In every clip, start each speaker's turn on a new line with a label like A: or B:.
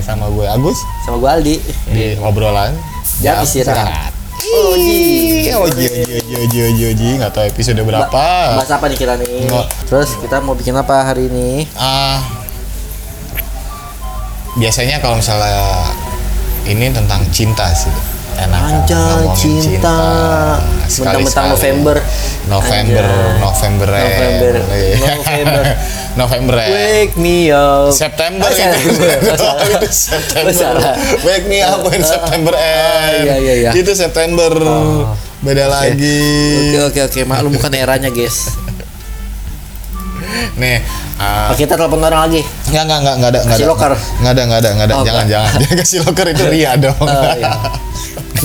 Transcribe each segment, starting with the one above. A: sama gue Agus
B: Sama gue Aldi.
A: di obrolan
B: Jam Ya, istirahat. Iya,
A: Oji, oji, oji, oji, oji, oji, oji, nggak tahu episode berapa.
B: Bahas apa nih kita
A: Ah.
B: nih?
A: Nggak.
B: Terus kita mau bikin apa hari ini?
A: Ah, biasanya kalau misalnya ini tentang cinta sih, enak. kan?
B: Anjay, cinta. Mentang-mentang November.
A: November,
B: Anjay.
A: November, Iya.
B: November, November.
A: November.
B: Wake me up.
A: Eh. September
B: Oh,
A: itu.
B: September.
A: Itu September.
B: Oh, salah.
A: Wake me up when September end.
B: Ah, iya, iya, iya.
A: Itu September. Beda lagi.
B: Oke oke oke, maklum bukan eranya guys.
A: Nih, ah,
B: Oke, kita telepon orang lagi.
A: Enggak, enggak, enggak, enggak ada, enggak
B: Kasih
A: ada.
B: loker.
A: Enggak ada, enggak ada, enggak ada.
B: Oh,
A: jangan, jangan. Jangan kasih loker itu ria dong.
B: Oh, iya.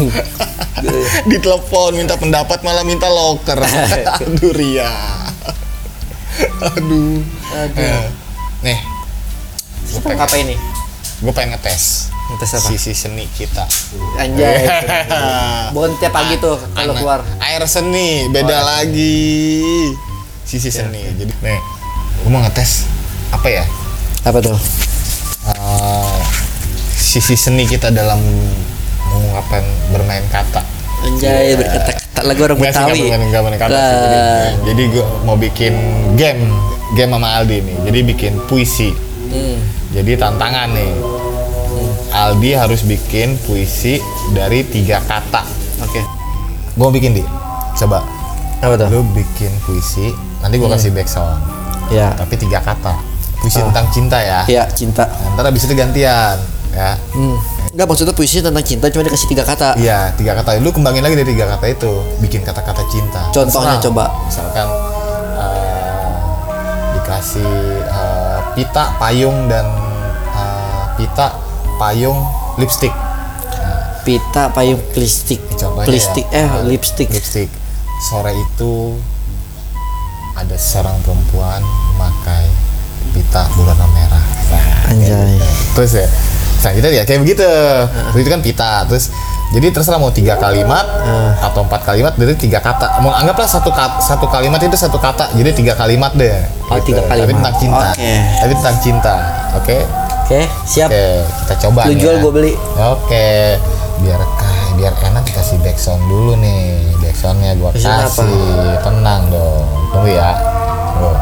A: Ditelepon minta pendapat malah minta loker. Aduh ria. Aduh.
B: Iya.
A: Eh, Nih,
B: Kita mau apa ini?
A: gue pengen ngetes
B: Ngetes apa?
A: sisi seni kita.
B: Anjay. Bukan tiap pagi tuh kalau
A: Anak-
B: keluar. Oh, iya.
A: Air seni, beda lagi. Sisi seni. Jadi, nih, gue mau ngetes apa ya?
B: Apa tuh?
A: eh, sisi seni kita dalam mengungkapkan bermain kata.
B: Anjay, berkata-kata lagu orang
A: Iya. Nggak sih, nggak
B: Betawi.
A: bermain- nggak bermain kata sih. Jadi,
B: Lah.
A: jadi gue mau bikin game, game sama Aldi nih. Jadi bikin puisi.
B: Hmm.
A: Jadi tantangan nih. Aldi harus bikin puisi dari tiga kata.
B: Oke.
A: Gue bikin di, coba.
B: Apa tuh?
A: Lu bikin puisi, nanti
B: Hmm.
A: gue kasih backsound.
B: Ya.
A: Tapi tiga kata. Puisi
B: Oh.
A: tentang cinta ya.
B: Ya, cinta.
A: Nah, Ntar abis itu gantian, ya.
B: Hmm. Enggak maksudnya puisi tentang cinta cuma dikasih tiga kata.
A: Iya, tiga kata. Lu kembangin lagi dari tiga kata itu, bikin kata-kata cinta.
B: Contohnya coba.
A: Misalkan eh, dikasih eh, pita, payung dan eh, pita, payung, lipstick. Nah,
B: Pita payung plastik.
A: ini contohnya
B: Plastik
A: ya.
B: eh lipstick.
A: Lipstick. Sore itu ada seorang perempuan memakai pita berwarna merah. Nah,
B: Anjay.
A: terus ya selanjutnya ya kayak begitu Terus itu kan pita terus jadi terserah mau tiga kalimat atau empat kalimat dari tiga kata mau anggaplah satu kata, satu kalimat itu satu kata jadi tiga kalimat deh Gitu.
B: Oh, tiga
A: tapi
B: kalimat.
A: tentang cinta
B: Oke.
A: tapi tentang cinta oke
B: Oke, siap.
A: oke kita coba
B: Lu
A: nih
B: jual,
A: ya.
B: gua beli.
A: oke biar kah biar enak kasih backsound dulu nih backsoundnya gua
B: Backsound apa?
A: kasih tenang dong tunggu ya Tuh.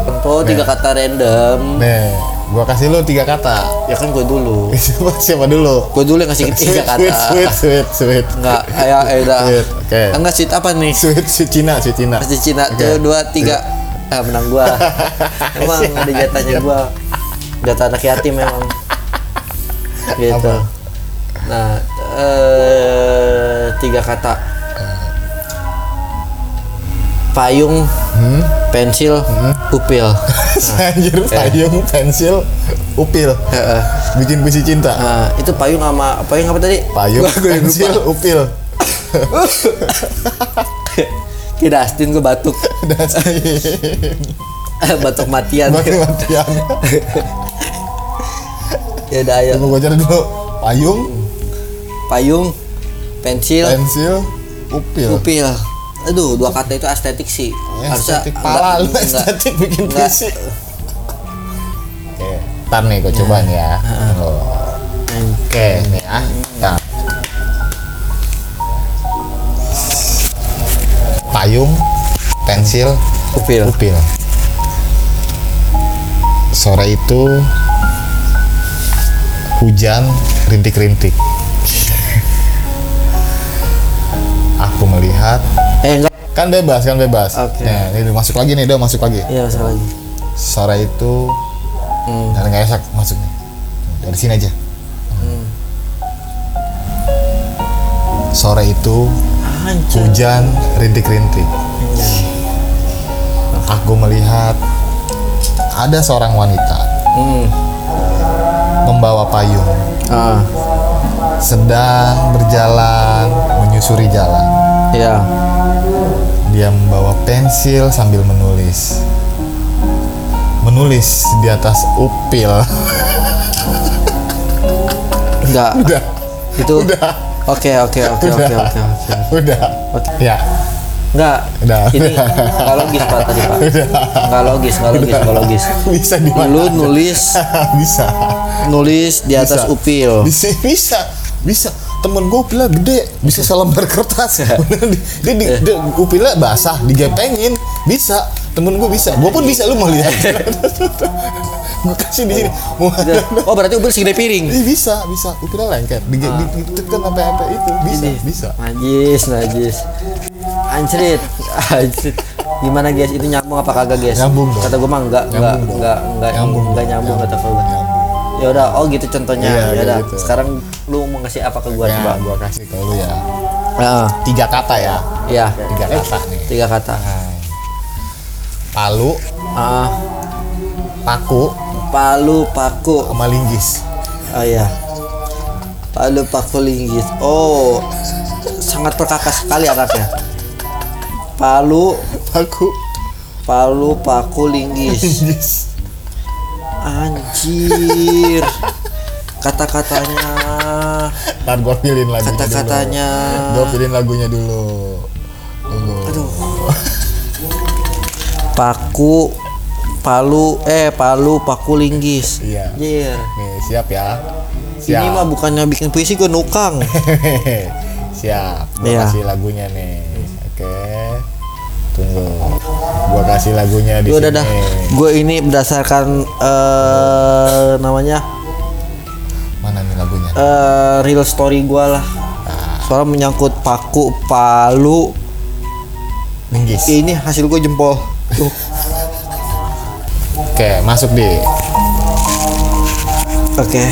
B: Tempo Oh, tiga kata random.
A: nih gua kasih lu tiga kata
B: Ya kan gue dulu.
A: siapa siapa dulu
B: Gue dulu yang ngasih
A: Sweet, sweet,
B: tiga kata.
A: sweet, sweet.
B: Enggak, ya udah.
A: Sweet, oke.
B: Enggak sweet apa nih?
A: Sweet, sweet Cina, sweet Cina.
B: Pasti Cina
A: Oke. Iya.
B: tuh dua tiga. Ah, menang gua. Emang ada jatahnya gua. Jatah anak yatim emang. Gitu.
A: Apa?
B: Nah, eh tiga kata. Payung,
A: Hmm?
B: pensil, upil.
A: Anjir, payung, pensil, upil.
B: Nah. Heeh.
A: Bikin puisi cinta.
B: Nah, itu payung sama payung apa tadi?
A: Payung,
B: Gua- gua yang lupa.
A: pensil, upil.
B: Kayak Dustin gue batuk. batuk matian.
A: Bagi matian.
B: ya udah ayo.
A: Coba gue cari dulu. Payung,
B: Payung, pensil,
A: pensil, upil.
B: Iya. upil. Aduh, dua kata itu estetik sih.
A: Ya, estetik pala lu, estetik bikin
B: enggak.
A: puisi. Oke, ntar nih gue coba nih ya. Oh. Oke, nih ya. Nah. Payung, pensil,
B: Upil.
A: upil. Sore itu hujan rintik-rintik. Aku melihat
B: Eh, enggak.
A: kan bebas kan bebas.
B: Oke.
A: Nah, ini udah masuk lagi nih, udah masuk lagi.
B: Iya, salah lagi.
A: Sore itu
B: Hmm.
A: dan nggak esak masuk nih. Dari sini aja. Sore itu
B: Hancur.
A: hujan rintik-rintik. Aku melihat ada seorang wanita
B: Hmm.
A: membawa payung
B: Ah,
A: sedang berjalan menyusuri jalan.
B: ya.
A: Dia membawa pensil sambil menulis. Menulis di atas upil.
B: Enggak.
A: Udah,
B: Itu
A: udah,
B: Oke, oke, oke,
A: udah,
B: oke, oke, oke.
A: udah. Ya,
B: Enggak.
A: Udah.
B: Ini nggak logis Pak tadi Pak. Nggak logis, nggak logis, nggak logis.
A: bisa di mana
B: Lu
A: aja.
B: nulis
A: bisa
B: nulis di atas
A: Bisa.
B: upil.
A: bisa bisa bisa temen gue upilnya gede bisa selembar kertas Bener, di- dia, di, dia upilnya basah digepengin bisa temen gue bisa gue pun bisa lu mau lihat gue kasih di sini Wah,
B: Oh, berarti upil segede piring.
A: Ih, bisa bisa upilnya lengket di, di, ditekan sampai sampai itu bisa
B: Ah. Ini.
A: bisa
B: Najis, najis. Anjrit, anjrit. Gimana guys, itu nyambung apa kagak guys?
A: Nyambung dong.
B: Kata gue mah enggak, enggak,
A: Nyambung dong.
B: enggak, enggak,
A: Nyambung
B: enggak
A: dong.
B: nyambung kata gue.
A: Nyambung.
B: Ya udah, oh gitu contohnya.
A: Iya,
B: ya udah.
A: kayak gitu.
B: Sekarang lu mau ngasih apa ke gue coba?
A: ya gue kasih ke lu ya
B: Heeh.
A: tiga kata ya
B: Iya.
A: tiga kata nih
B: Tiga kata.
A: palu
B: Ah,
A: paku
B: palu paku.
A: sama linggis
B: Oh iya. Palu paku linggis. Oh. Sangat perkakas sekali anaknya. Palu,
A: paku
B: palu paku linggis.
A: linggis
B: Anjir. Kata-katanya
A: Ntar gue pilihin lagunya
B: Kata-katanya.
A: dulu. Gue pilihin lagunya dulu. Tunggu.
B: paku palu eh palu paku linggis.
A: Iya.
B: Anjir.
A: Nih, siap ya. Siap.
B: Ini mah bukannya bikin puisi gue nukang.
A: siap. Gue
B: Iya.
A: kasih lagunya nih. Oke. Tunggu. Gue kasih lagunya di
B: Gue
A: sini.
B: udah dah. Gue ini berdasarkan eh namanya
A: Mana nih lagunya?
B: eh real story gue lah.
A: Ah.
B: Soalnya menyangkut paku palu
A: Linggis.
B: ini hasil gue jempol. Tuh.
A: Oke, masuk di.
B: Oke.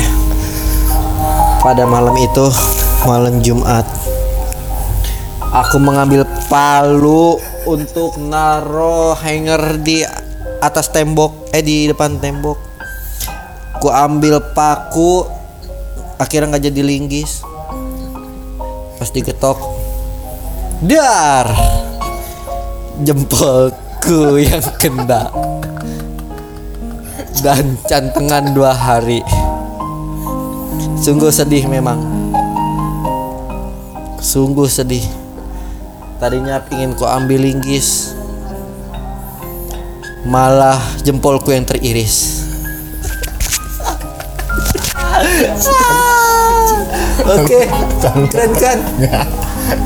B: Pada malam itu, malam Jumat, aku mengambil palu untuk naro hanger di atas tembok, eh di depan tembok. Ku ambil paku, akhirnya nggak jadi linggis. Pas diketok, dar, jempolku yang kena dan cantengan dua hari. Sungguh sedih memang. Sungguh sedih. Tadinya ingin ku ambil linggis, malah jempolku yang teriris. Oke, keren kan?
A: Enggak.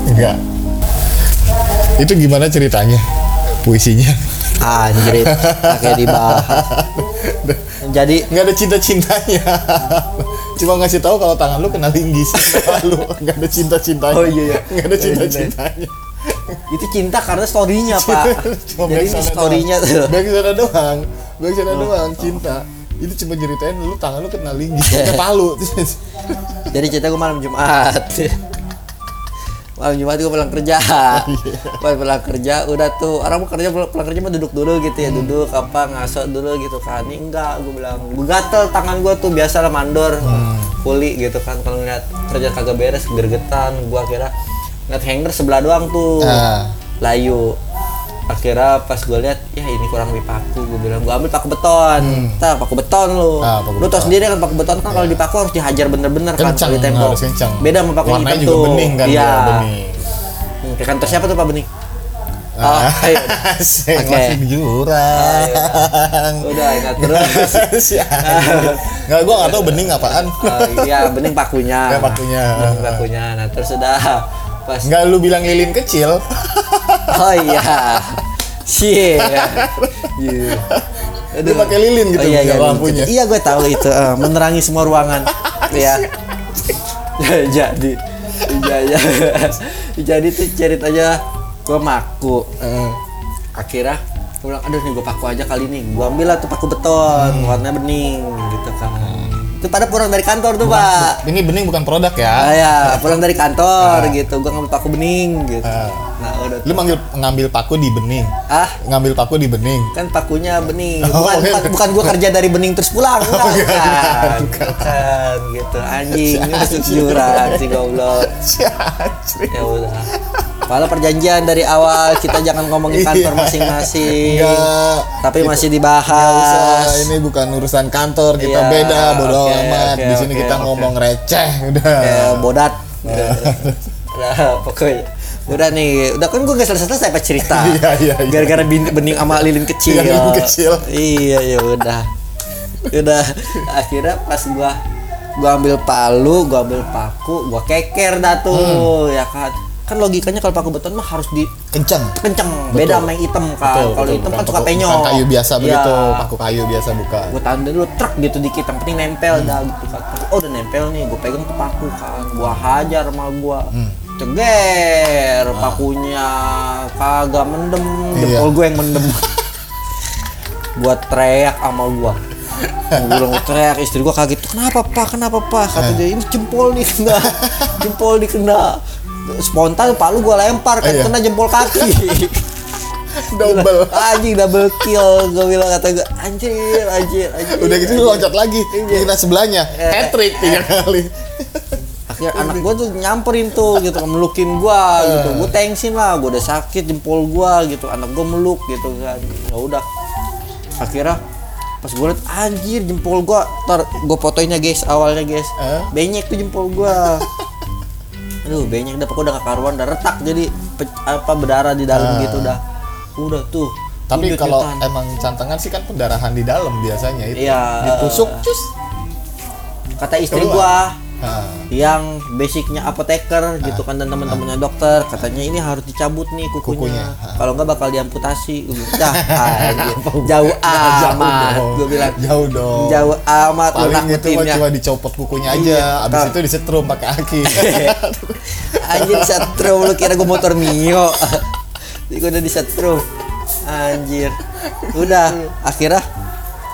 A: Enggak. Itu gimana ceritanya? Puisinya.
B: Anjrit, pakai dibahas. Jadi
A: Enggak ada cinta-cintanya. Cuma ngasih tahu kalau tangan lu kena linggis. Lu enggak ada cinta-cintanya.
B: Oh, iya, iya.
A: Enggak ada cinta-cintanya.
B: itu cinta karena storynya pak. Jadi ini
A: back sana
B: storynya
A: doang.
B: Oh, tuh.
A: Back sana doang. Back sana doang cinta. Itu cuma ceritain lu tangan lu kena linggis, kena palu.
B: Jadi cerita gue malam Jumat. malam Jumat gue pulang kerja. Pas pulang kerja udah tuh orang mau kerja pulang, pulang kerja mah duduk dulu gitu ya,
A: Hmm.
B: duduk apa ngaso dulu gitu kan. Ini enggak gue bilang. Gue gatel tangan gue tuh biasa lah mandor.
A: Hmm.
B: Kuli gitu kan kalau ngeliat kerja kagak beres gergetan gua kira ngeliat hanger sebelah doang tuh.
A: Ah.
B: Layu akhirnya pas gue lihat ya ini kurang lebih paku gue bilang gue ambil paku beton tak paku beton lu
A: Hmm. Ah, paku Iya.
B: lu tau sendiri kan paku beton kan kalau dipaku harus dihajar bener-bener
A: kencang,
B: Kan di tembok.
A: harus kencang.
B: Beda sama pakai
A: Warnanya
B: hitam
A: juga
B: tuh.
A: bening kan,
B: Iya.
A: dia bening.
B: Hmm, Ke kantor siapa tuh Pak Bening? Oh,
A: Ah,
B: ayo.
A: Asik,
B: Oke.
A: masih di jurang.
B: Udah, ingat terus.
A: Si anjing. Nggak, gua nggak tahu bening apaan.
B: Eh, Iya, bening
A: Ya,
B: pakunya.
A: pakunya.
B: Bening pakunya. Nah, terus udah pas
A: Nggak lu bilang lilin kecil.
B: Oh iya. Shit. Iya.
A: Dia pakai lilin gitu,
B: iya, iya,
A: nggak lampunya.
B: Iya, gue tahu itu. eh, menerangi semua ruangan. Iya. jadi jadi jadi tuh ceritanya gue maku
A: Eh,
B: akhirnya gue bilang aduh nih gue paku aja kali ini gue ambil lah tuh paku beton
A: Hmm.
B: warnanya bening gitu kan itu pada pulang dari kantor tuh pak
A: ini bening bukan produk
B: ah,
A: ya.
B: ya pulang dari kantor gitu gue ngambil paku bening gitu nah udah
A: Ah. Lu manggil ngambil paku di bening.
B: ah
A: Ngambil paku di bening.
B: kan pakunya bening
A: Oh,
B: bukan
A: iya. Oh,
B: bukan, gue kerja dari bening terus pulang enggak, bukan, bukan, gitu anjing ini masuk jurang si goblok
A: Si anjing.
B: ya udah Padahal perjanjian dari awal kita jangan ngomongin kantor
A: Iya.
B: masing-masing
A: Nggak.
B: tapi
A: Itu-
B: masih
A: Nggak usah,
B: dibahas
A: ini bukan urusan kantor, kita
B: Ah, Iya,
A: beda, bodo
B: oke,
A: amat.
B: oke,
A: di sini
B: oke,
A: kita
B: oke.
A: Iya. ngomong receh, udah.
B: Eh, bodat udah, udah, pokoknya udah nih udah kan gue gak selesai selesai apa cerita
A: Iya, iya, iya.
B: gara-gara bin- bening sama lilin kecil
A: Iya, lilin kecil.
B: iya ya udah udah akhirnya pas gua gua ambil palu gua ambil paku gua keker dah tuh
A: Hmm.
B: ya kan kan logikanya kalau paku beton mah harus di
A: kenceng
B: kenceng beda sama yang hitam kan
A: Betul,
B: kalau
A: betul,
B: hitam
A: bukan
B: kan suka
A: paku-
B: penyok
A: bukan kayu biasa
B: Iya.
A: begitu paku kayu biasa bukan
B: gue tahan dulu truk gitu dikit yang penting nempel
A: Hmm.
B: dah gitu kan oh udah nempel nih gue pegang tuh paku kan gue hajar sama gue
A: Hmm.
B: ceger pakunya kagak mendem
A: Ah. Iya.
B: jempol gue yang mendem gue teriak sama gue gue bilang gua teriak istri gue kaget kenapa pak kenapa pak kata
A: Eh.
B: dia ini jempol nih kena jempol dikena spontan palu gue lempar kan
A: Iya.
B: kena jempol kaki
A: double
B: anjing double kill gue bilang kata gue anjir anjir anjir
A: udah gitu lu loncat lagi
B: Iya.
A: kena sebelahnya hat trick tiga kali
B: akhirnya anak gue tuh nyamperin tuh gitu melukin gue gitu
A: Eh.
B: gue tensin lah gue udah sakit jempol gue gitu anak gue meluk gitu kan ya udah akhirnya pas gue liat anjir jempol gue ntar gue fotoinnya guys awalnya guys
A: Eh?
B: benyek tuh jempol gue aduh benyek dah pokoknya udah gak karuan udah retak jadi pe- apa berdarah di dalam gitu dah udah tuh
A: Eh. tapi kalau
B: nyut-nyutan.
A: emang cantengan sih kan pendarahan di dalam biasanya itu
B: Iya.
A: ditusuk cus eh,
B: kata istri
A: keluar.
B: gue
A: Nah,
B: yang basicnya apoteker gitu kan dan teman-temannya dokter katanya ini harus dicabut nih kukunya,
A: Ah. Kukunya, ah.
B: kalau nggak bakal diamputasi dah anjir. jauh amat
A: dong.
B: gue bilang
A: jauh dong
B: jauh amat lu
A: paling itu mah
B: nakutinnya
A: cuma dicopot kukunya aja
B: Iya,
A: abis
B: Kak.
A: itu disetrum pakai aki Iya.
B: anjir setrum lu kira gue motor mio jadi gue udah disetrum anjir udah akhirnya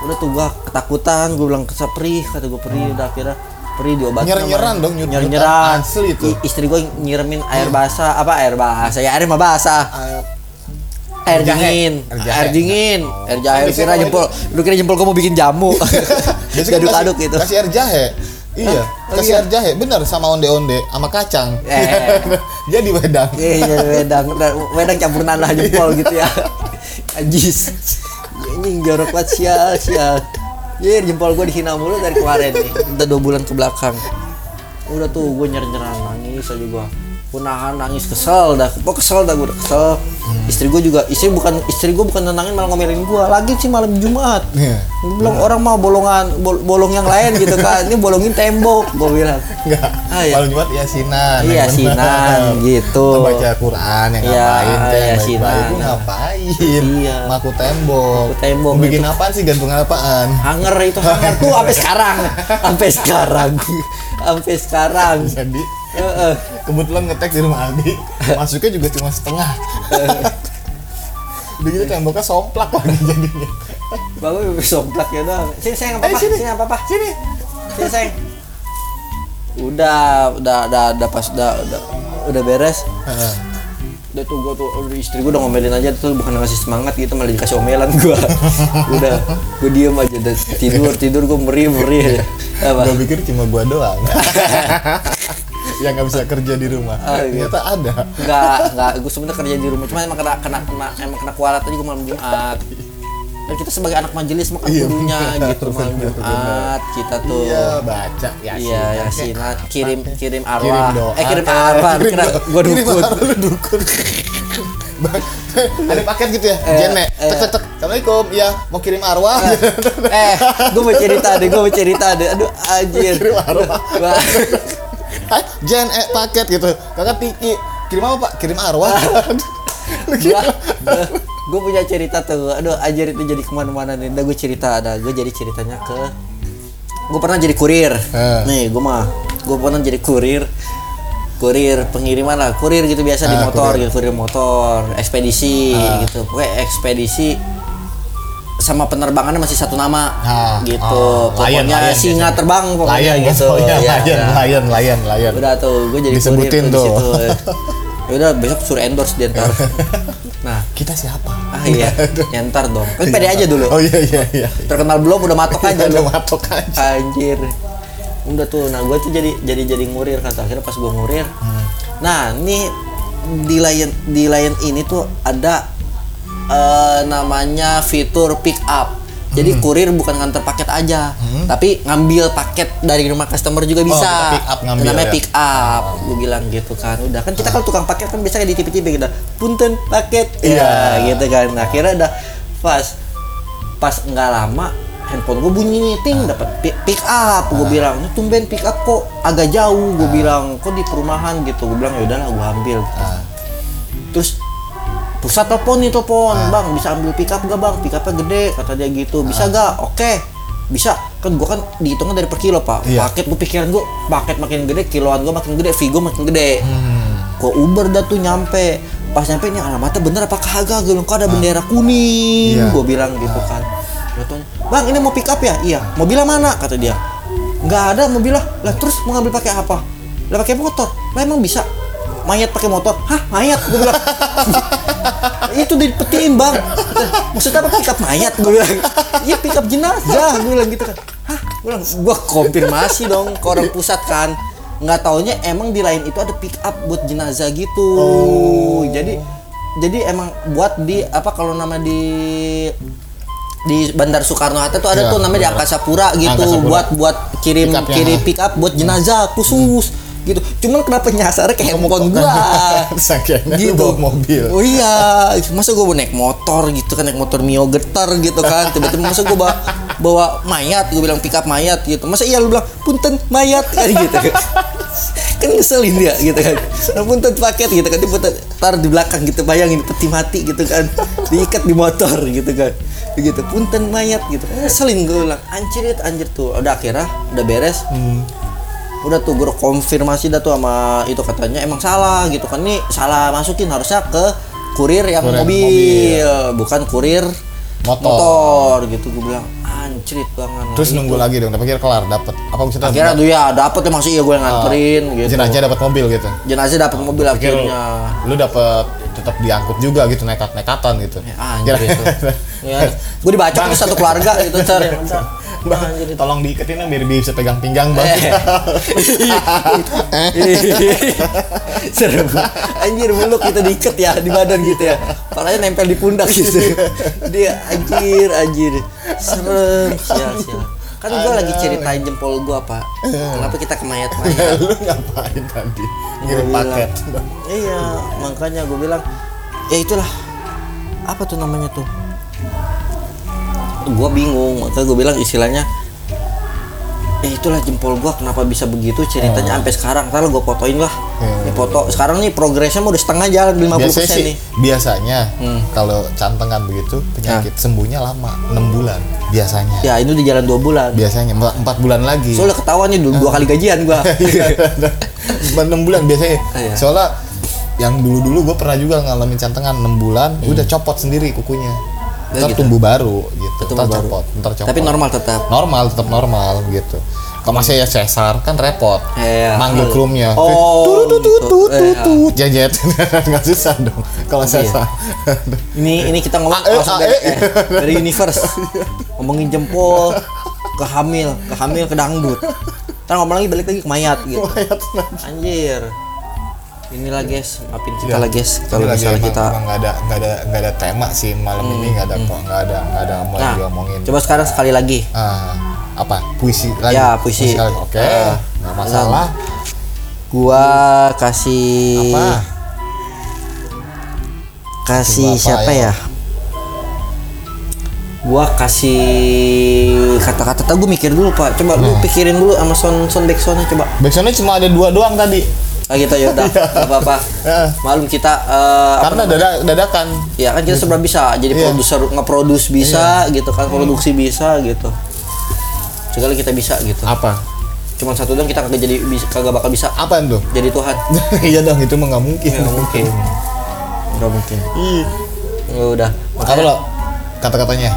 B: udah tuh gua ketakutan gue bilang ke perih kata gue perih udah akhirnya perih diobatin
A: Nyer-nyeran
B: sama-
A: dong, nyut-nyutan.
B: nyer-nyeran
A: Asli itu.
B: I- istri gue nyiremin air basah apa air basah ya air mah basah air
A: Air jahe.
B: dingin
A: Air jahe.
B: air dingin air jahe
A: Biasanya
B: kira
A: kalau
B: jempol lu kira jempol gue mau bikin jamu
A: Biasanya kan
B: aduk-aduk
A: kasih-
B: gitu
A: kasih air jahe iya
B: Oh,
A: kasih
B: iya.
A: air jahe bener sama onde onde sama kacang
B: Eh.
A: jadi wedang
B: Iya, iya, wedang, Dan wedang campur nanah jempol gitu ya. Anjis. Anjing jorok banget sial, sial. Anjir, jempol gue dihina mulu dari kemarin nih. Udah dua bulan ke belakang. Udah tuh gue nyer-nyeran nangis aja gue. Gue nahan nangis kesel dah. Gue kesel dah gue udah kesel. Istri gue juga, istri bukan istri gue bukan nenangin malah ngomelin gue. Lagi sih malam Jumat.
A: Iya.
B: Gue bilang orang mau bolongan bol- bolong yang lain gitu kan. Ini bolongin tembok gue bilang.
A: Enggak.
B: Ah, iya.
A: Paling cuma ya sinan.
B: Iya,
A: yang bener.
B: sinan, gitu.
A: Lu baca Quran yang
B: Iya,
A: ngapain teh,
B: iya,
A: yang
B: sinan.
A: baik-baik. Lu ngapain?
B: Iya.
A: Maku tembok.
B: Maku tembok,
A: Lu bikin apaan sih gantung apaan?
B: Hanger itu hanger tuh sampai sekarang, sampai sekarang, sampai sekarang.
A: Jadi
B: Heeh.
A: kebetulan ngetek di rumah Aldi. Masuknya juga cuma setengah. Udah gitu temboknya somplak lagi jadinya.
B: Bapak somplak ya dong. Sini sayang apa
A: Eh,
B: apa?
A: sini.
B: Sini. apa apa? Sini. Sini sayang. Udah, udah, udah, udah pas, udah, udah, udah beres.
A: Heeh.
B: Udah tuh gue tuh aduh, istri gue udah ngomelin aja tuh bukan ngasih semangat gitu malah dikasih omelan gue. udah, gue diem aja udah tidur tidur gue merih merih. aja. Apa?
A: Gua pikir cuma gua doang. yang nggak bisa kerja di rumah.
B: Ah, iya.
A: Ternyata ada.
B: Enggak, enggak. Gue sebenarnya kerja di rumah, cuma emang kena kena kena emang kena kualat aja gue malam Jumat. Dan kita sebagai anak majelis makan
A: Iya,
B: kudunya
A: benar,
B: gitu malam
A: benar,
B: Jumat kita tuh.
A: Iya, baca ya.
B: Iya, yasinan kirim kirim arwah.
A: kirim doa
B: eh kirim arwah,
A: Kirim
B: kira
A: doa.
B: gua
A: Kirim
B: dukun.
A: arwah, lu dukun Bang, ada paket gitu ya jene tek tek tek assalamualaikum ya mau kirim arwah
B: eh, gue mau cerita deh, gue mau cerita deh. Aduh, anjir.
A: kirim arwah
B: Wah,
A: Hai, jen eh paket gitu kakak tiki kirim apa pak kirim arwah
B: Ah.
A: Gitu. Lu kira-
B: gue punya cerita tuh. Aduh, anjir itu jadi kemana-mana nih. Udah gue cerita ada, gue jadi ceritanya ke gue pernah jadi kurir.
A: Eh.
B: Nih, gue mah gue pernah jadi kurir. Kurir pengiriman lah, kurir gitu biasa di
A: Ah, kurir.
B: motor
A: Ah.
B: gitu, kurir motor, ekspedisi gitu. Pokoknya ekspedisi sama penerbangannya masih satu nama
A: Ah,
B: gitu.
A: ah,
B: pokoknya
A: lion, lion
B: singa
A: gitu.
B: terbang pokoknya
A: layan
B: gitu.
A: gitu layan
B: Ya,
A: layan
B: nah.
A: layan layan layan
B: Udah tuh, gue jadi
A: Disebutin
B: kurir tuh.
A: tuh.
B: di situ. Ya udah besok suruh endorse dia ntar. nah,
A: kita siapa
B: ah iya, ya ntar dong. Kan pede aja dulu.
A: oh iya iya iya
B: Terkenal belum udah matok aja
A: udah
B: lu.
A: matok aja
B: Anjir. Udah tuh, nah gue tuh jadi jadi jadi ngurir kata akhirnya pas gue ngurir.
A: Hmm.
B: Nah, ini di Lion di Lion ini tuh ada eh, namanya fitur pick up. Jadi
A: Hmm.
B: kurir bukan nganter paket aja, tapi ngambil paket dari rumah customer juga bisa.
A: Oh, kita pick up ngambil
B: Namanya
A: ya? Hmm.
B: pick up, gue bilang gitu kan. Udah kan kita kalau tukang paket kan biasanya di tipe-tipe gitu. Punten paket. Iya, gitu kan. Nah, akhirnya udah pas pas nggak lama handphone gue bunyi nih, ting dapat pi- pick up gue bilang "Ini tumben pick up kok agak jauh gue bilang kok di perumahan gitu gue bilang ya udahlah gue ambil
A: Ah.
B: terus pusat telepon nih telepon bang bisa ambil pick up gak bang pick upnya gede kata dia gitu bisa gak oke bisa kan gua kan dihitungnya dari per kilo pak
A: Iya.
B: paket gue pikiran gua paket makin gede kiloan gua makin gede figo makin gede gua uber dah tuh nyampe pas nyampe ini alamatnya bener apa kagak gue bilang kok ada bendera kuning
A: Iya.
B: gua bilang gitu kan Dia tanya, bang ini mau pick up ya iya mobilnya mana kata dia nggak ada mobilnya lah terus mau ngambil pakai apa lah pakai motor lah emang bisa mayat pakai motor hah mayat gue bilang itu dipetiin bang maksudnya apa pick up mayat gue bilang iya pick up jenazah gue bilang gitu kan hah gue bilang gue konfirmasi dong ke orang pusat kan nggak taunya emang di lain itu ada pick up buat jenazah gitu
A: Oh.
B: jadi jadi emang buat di apa kalau nama di di Bandar Soekarno Hatta tuh ada
A: Iya,
B: tuh namanya di
A: benar.
B: Angkasa Pura gitu
A: Angkasa Pura.
B: buat buat kirim
A: Pick up-nya. Hmm.
B: kirim pick up buat jenazah khusus gitu cuman kenapa nyasar ke handphone gua
A: Saking lu bawa mobil.
B: Oh iya, masa gue naik motor gitu kan naik motor Mio getar gitu kan. Tiba-tiba masa gue bawa, bawa mayat, gue bilang pick up mayat gitu. Masa iya lu bilang punten mayat kan gitu. kan ngeselin dia gitu kan. Nah, punten paket gitu kan dia punten- taruh di belakang gitu bayangin peti mati gitu kan. Diikat di motor gitu kan. Begitu punten mayat gitu. Ngeselin gue bilang anjir ya, anjir tuh. Udah akhirnya udah beres
A: Hmm.
B: udah tuh gue konfirmasi dah tuh sama itu katanya emang salah gitu kan ini salah masukin harusnya ke kurir yang
A: Kurir
B: mobil. bukan kurir
A: Motor.
B: motor gitu gue bilang anjrit banget
A: Terus nunggu lagi dong, tapi akhirnya kelar dapat. Apa maksudnya? eh,
B: akhirnya tuh ya dapet ya masih iya gue yang nganterin gitu
A: Ah. Jenazah dapat mobil gitu.
B: jenazah dapet mobil
A: Pikir
B: akhirnya
A: Gitu. lu dapat tetap diangkut juga gitu nekat-nekatan gitu.
B: Ya, anjir itu ya, gue dibaca
A: Bang.
B: terus satu keluarga gitu cer ya, bentar.
A: Bang, tolong diiketin dong biar bisa pegang pinggang bang.
B: Eh. Serem. Eh. Anjir meluk kita diikat ya di badan gitu ya. Parahnya nempel di pundak gitu. Dia anjir anjir. Serem sial sial. Kan gue lagi ceritain jempol gue pak. Kenapa kita ke mayat-mayat?
A: lu ngapain tadi? Ngirim
B: Gua bilang,
A: paket.
B: Iya, makanya gue bilang ya itulah apa tuh namanya tuh? Gue bingung, makanya gue bilang istilahnya ya itulah jempol gua kenapa bisa begitu ceritanya sampai sekarang ntar gue fotoin lah
A: Oh. Hmm.
B: Ini foto sekarang nih progresnya mau udah setengah jalan 50%
A: Biasanya sih,
B: nih Hmm.
A: biasanya kalau cantengan begitu
B: Ah.
A: penyakit sembuhnya lama, 6 bulan biasanya.
B: ya ini udah jalan dua bulan
A: Biasanya 4 bulan lagi.
B: soalnya ketahuan nih dua, dua kali gajian gua
A: Iya, Cuma 6 bulan biasanya.
B: Iya.
A: Soalnya yang dulu-dulu gue pernah juga ngalamin cantengan 6 bulan, gua udah copot sendiri kukunya.
B: Ya
A: Ntar
B: Hmm. gitu.
A: tumbuh baru gitu.
B: Tumbuh
A: Ntar
B: baru.
A: copot, ntar copot.
B: tapi normal tetap
A: normal, tetap normal gitu. Kalau masih ya sesar kan repot.
B: Iya.
A: Manggil krumnya.
B: Oh,
A: Tut, tut, tut,
B: gitu.
A: tut, tut,
B: Iya.
A: tut. Jejet. Nggak susah dong kalau sesar.
B: Ini ini kita ngomong
A: Ah, eh,
B: langsung
A: ah,
B: dari,
A: eh.
B: eh, dari universe. Ngomongin jempol, ke hamil, ke hamil, ke dangdut. Ntar ngomong lagi balik lagi ke mayat gitu. Anjir. Inilah guys, maafin kita lah guys kalau
A: Gila sih, Iya.
B: misalnya
A: emang-
B: kita Hmm.
A: emang nggak ada nggak ada nggak ada tema sih malam ini nggak ada kok nggak ada nggak ada mau
B: Nah,
A: diomongin.
B: coba sekarang sekali lagi.
A: Ah, apa puisi lagi
B: Ya, puisi.
A: lagi. oke
B: Ah,
A: nggak masalah
B: Gua kasih
A: apa Coba
B: kasih
A: apa,
B: siapa
A: ayo.
B: ya? Gua kasih kata-kata Tadi gua mikir dulu, Pak. Coba
A: Nah.
B: lu pikirin dulu sama sound sound back soundnya coba.
A: backsoundnya cuma ada dua doang tadi
B: Ah gitu ya udah nggak apa-apa.
A: Heeh.
B: Malum kita eh, apa
A: Iya. Ya. karena dada, dadakan
B: ya kan kita sebenarnya bisa jadi
A: Iya.
B: produser ngeproduce bisa gitu kan produksi bisa gitu. Segala kita bisa gitu.
A: apa
B: Cuman satu doang kita kagak jadi bisa- kagak bakal bisa
A: apa tuh
B: jadi Tuhan.
A: iya dong itu mah nggak mungkin
B: Nggak mungkin. Nggak mungkin.
A: Ih.
B: Ya udah.
A: apa
B: Makanya
A: lo kata-katanya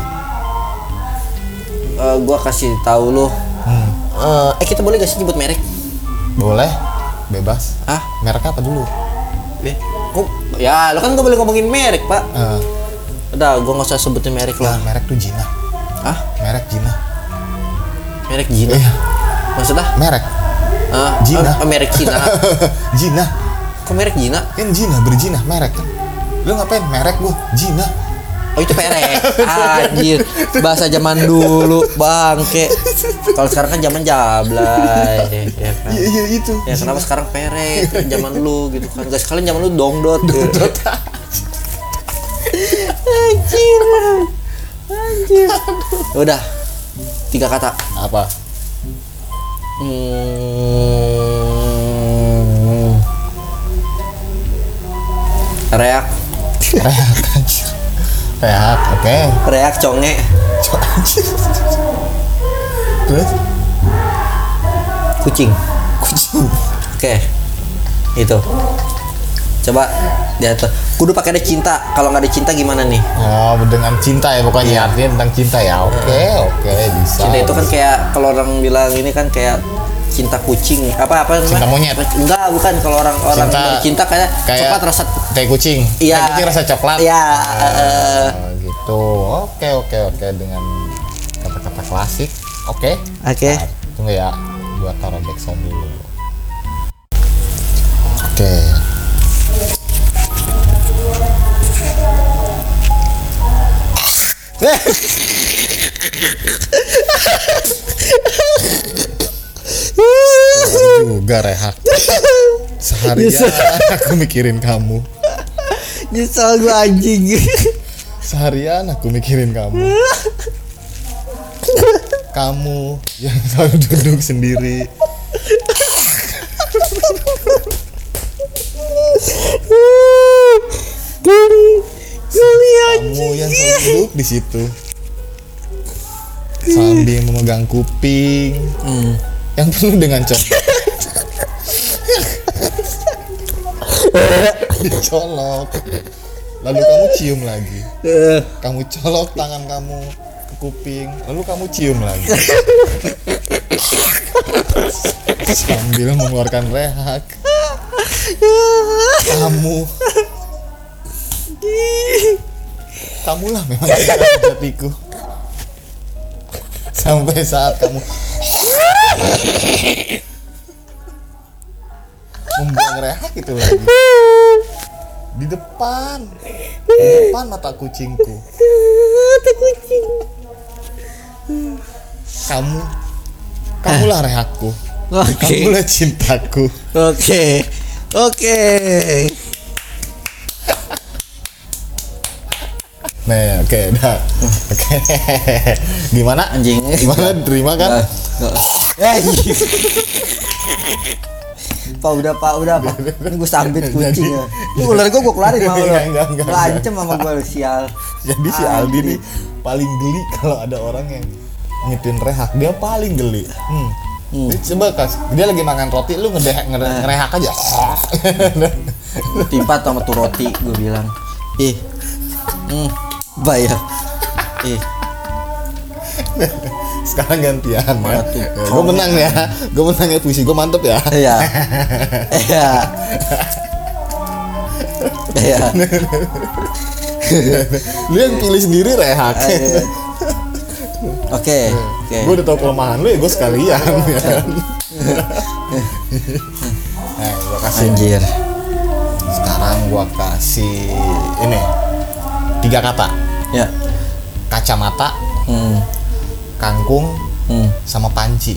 B: eh, gua kasih tahu lu eh, eh kita boleh gak sih nyebut merek?
A: boleh bebas
B: Hah?
A: merek apa dulu Iya.
B: Eh, kok- ya lo kan gak boleh ngomongin merek, Pak.
A: Eh,
B: Udah, gua nggak usah sebutin merek
A: ah,
B: lah.
A: merek tuh Jina
B: Ah,
A: merek Jina
B: merek Gina.
A: Iya.
B: Maksudnya?
A: merek
B: Ah,
A: Gina.
B: ah, merek Cina.
A: Jina
B: Kok merek Cina?
A: kan Jina berjina merek kan lu ngapain merek gua Jina
B: Oh itu perek. Anjir. Bahasa zaman dulu, bangke. Kalau sekarang kan zaman jablay. Ya, ya kan?
A: Iya, iya itu.
B: Ya kenapa sekarang perek zaman lu gitu kan. Guys, kalian zaman lu dongdot. ya. Dongdot. Anjir. Anjir. Udah. Tiga kata.
A: Apa?
B: Hmm. Reak,
A: Rehat anjir. Rehat, oke.
B: reak conge.
A: Cok, anjir. Terus
B: kucing
A: kucing.
B: oke itu coba diatur kudu pakai ada cinta kalau nggak ada cinta gimana nih
A: Oh, dengan cinta ya pokoknya artinya tentang cinta ya. Oke, oke bisa.
B: Iya. cinta itu kan kayak kalau orang bilang ini kan kayak cinta kucing apa apa
A: Cinta monyet.
B: enggak bukan kalau orang orang
A: Cinta-
B: bilang cinta kayak,
A: kayak
B: coklat rasa
A: kayak kucing.
B: iya
A: Kayak kucing rasa coklat.
B: iya eh,
A: Oh, gitu. Oke, oke, oke dengan kata-kata klasik. Oke.
B: oke
A: Tunggu ya, gua taruh back sound dulu. Oke. Sehari juga rehat seharian aku mikirin kamu
B: nyesel gue anjing
A: seharian aku mikirin kamu kamu yang selalu duduk sendiri
B: geli geli
A: kamu Oh, yang selalu duduk di situ sambil memegang kuping yang penuh dengan colok dicolok lalu kamu cium lagi
B: Eh,
A: kamu colok tangan kamu ke kuping lalu kamu cium lagi sambil mengeluarkan rehak kamu kamulah memang cinta sejatiku sampai saat kamu membuang rehak itu lagi di depan di depan mata kucingku
B: mata kucing
A: kamu kamulah rehakku
B: oke
A: kamulah cintaku
B: Oke, oke.
A: nah oke dah oke gimana
B: Anjing. Nah.
A: gimana terima kan nah.
B: Eh, anjing. Pak udah pak udah pak ini gue sambit kucingnya ini ular gue gue keluarin mau
A: Nah,
B: lo
A: Iya, Enggak, enggak, enggak,
B: gue ancam sama gue sial
A: Jadi si Aldi nih paling geli kalau ada orang yang ngitin rehak. Dia paling geli. Hmm. Jadi Coba kas, dia lagi makan roti, lu ngedehak ngere-
B: Nah.
A: ngerehak aja.
B: timpat sama tuh roti gue bilang ih hmm, bayar ih
A: Sekarang gantian ya.
B: Waduh,
A: Gue menang ya, gue menang ya puisi gue mantep ya.
B: iya iya iya
A: Lu yang pilih sendiri rehak.
B: Aduh. oke oke
A: Gue udah tau kelemahan lu ya, gue sekalian ya. kan? Nah, gue kasih.
B: anjir
A: Sekarang gue kasih ini tiga kata
B: ya
A: kacamata,
B: hmm
A: kangkung,
B: hmm
A: sama panci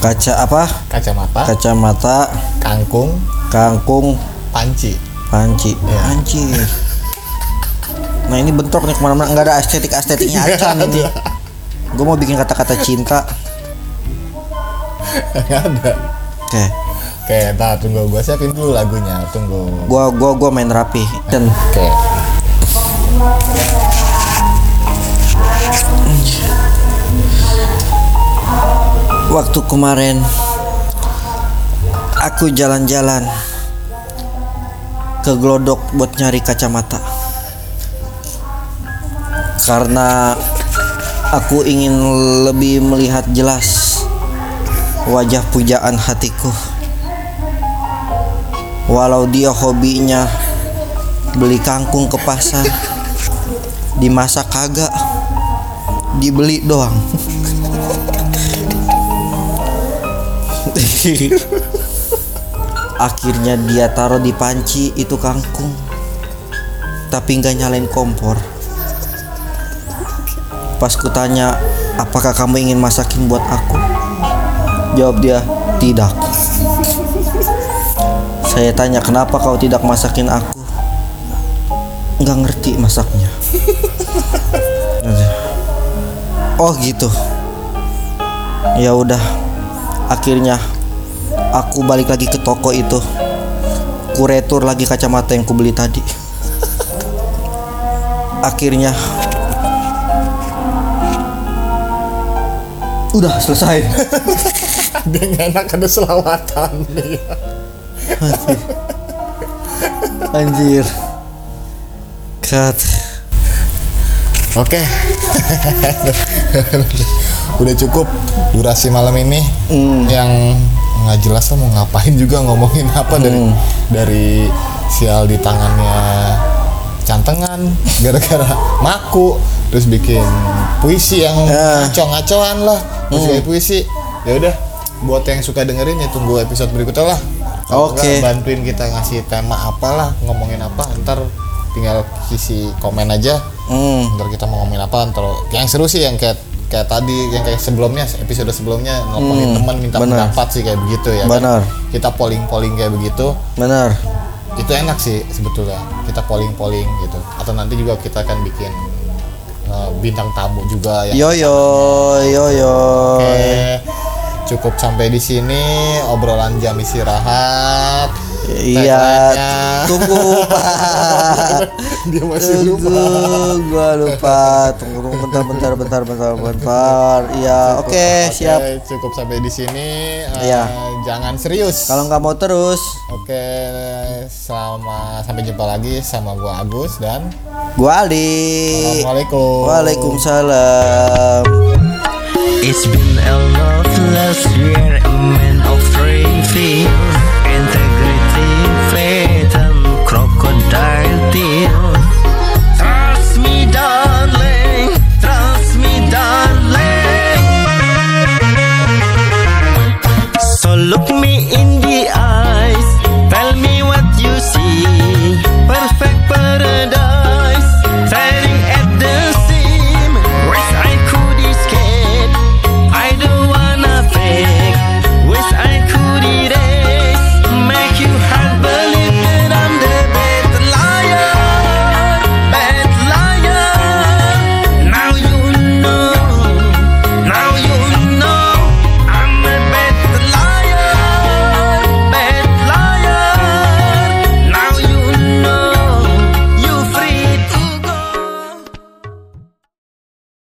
B: kaca apa
A: kacamata
B: kacamata
A: kangkung
B: kangkung
A: panci
B: panci
A: Iya.
B: panci nah ini bentrok nih kemana-mana nggak ada estetik estetiknya acan ini gue mau bikin kata-kata cinta
A: Nggak ada
B: oke
A: oke nah tunggu gue siapin dulu lagunya tunggu
B: gua gua gua main rapi dan
A: oke
B: waktu kemarin aku jalan-jalan ke Glodok buat nyari kacamata karena aku ingin lebih melihat jelas wajah pujaan hatiku walau dia hobinya beli kangkung ke pasar dimasak kagak dibeli doang akhirnya dia taruh di panci itu kangkung tapi nggak nyalain kompor pas kutanya apakah kamu ingin masakin buat aku jawab dia tidak saya tanya kenapa kau tidak masakin aku nggak ngerti masaknya oh gitu ya udah akhirnya aku balik lagi ke toko itu kuretur lagi kacamata yang kubeli tadi akhirnya udah selesai
A: Dia nggak enak ada selawatan dia.
B: anjir cut
A: Oke. Udah cukup durasi malam ini yang nggak jelas lah mau ngapain juga ngomongin apa dari dari sial di tangannya cantengan gara-gara maku terus bikin puisi yang
B: Ah.
A: ngaco-ngacoan lah terus kayak puisi ya udah buat yang suka dengerin ya tunggu episode berikutnya lah Kalau
B: Oke.
A: nggak, bantuin kita ngasih tema apalah ngomongin apa ntar tinggal isi komen aja
B: hmm.
A: ntar kita mau ngomongin apa ntar yang seru sih yang kayak kayak tadi yang kayak sebelumnya episode sebelumnya ngomongin
B: Hmm,
A: teman minta
B: bener.
A: pendapat sih kayak begitu ya kan?
B: Bener.
A: kita polling polling kayak begitu
B: benar
A: itu enak sih sebetulnya kita polling polling gitu atau nanti juga kita akan bikin uh, bintang tamu juga ya
B: yo yo yo yo
A: cukup sampai di sini obrolan jam istirahat
B: iya
A: Tagline-nya-
B: tunggu pak
A: dia masih
B: Tunggu,
A: lupa
B: gua lupa. Tunggu dulu, bentar, bentar, bentar, bentar, bentar. Iya, oke, siap.
A: cukup sampai di sini Uh,
B: Iya.
A: jangan serius
B: Kalau nggak mau terus,
A: Oke, selama sampai jumpa lagi sama gua Agus dan
B: gua Ali.
A: Assalamualaikum.
B: Waalaikumsalam.
C: It's been a loveless year, a man of three fears.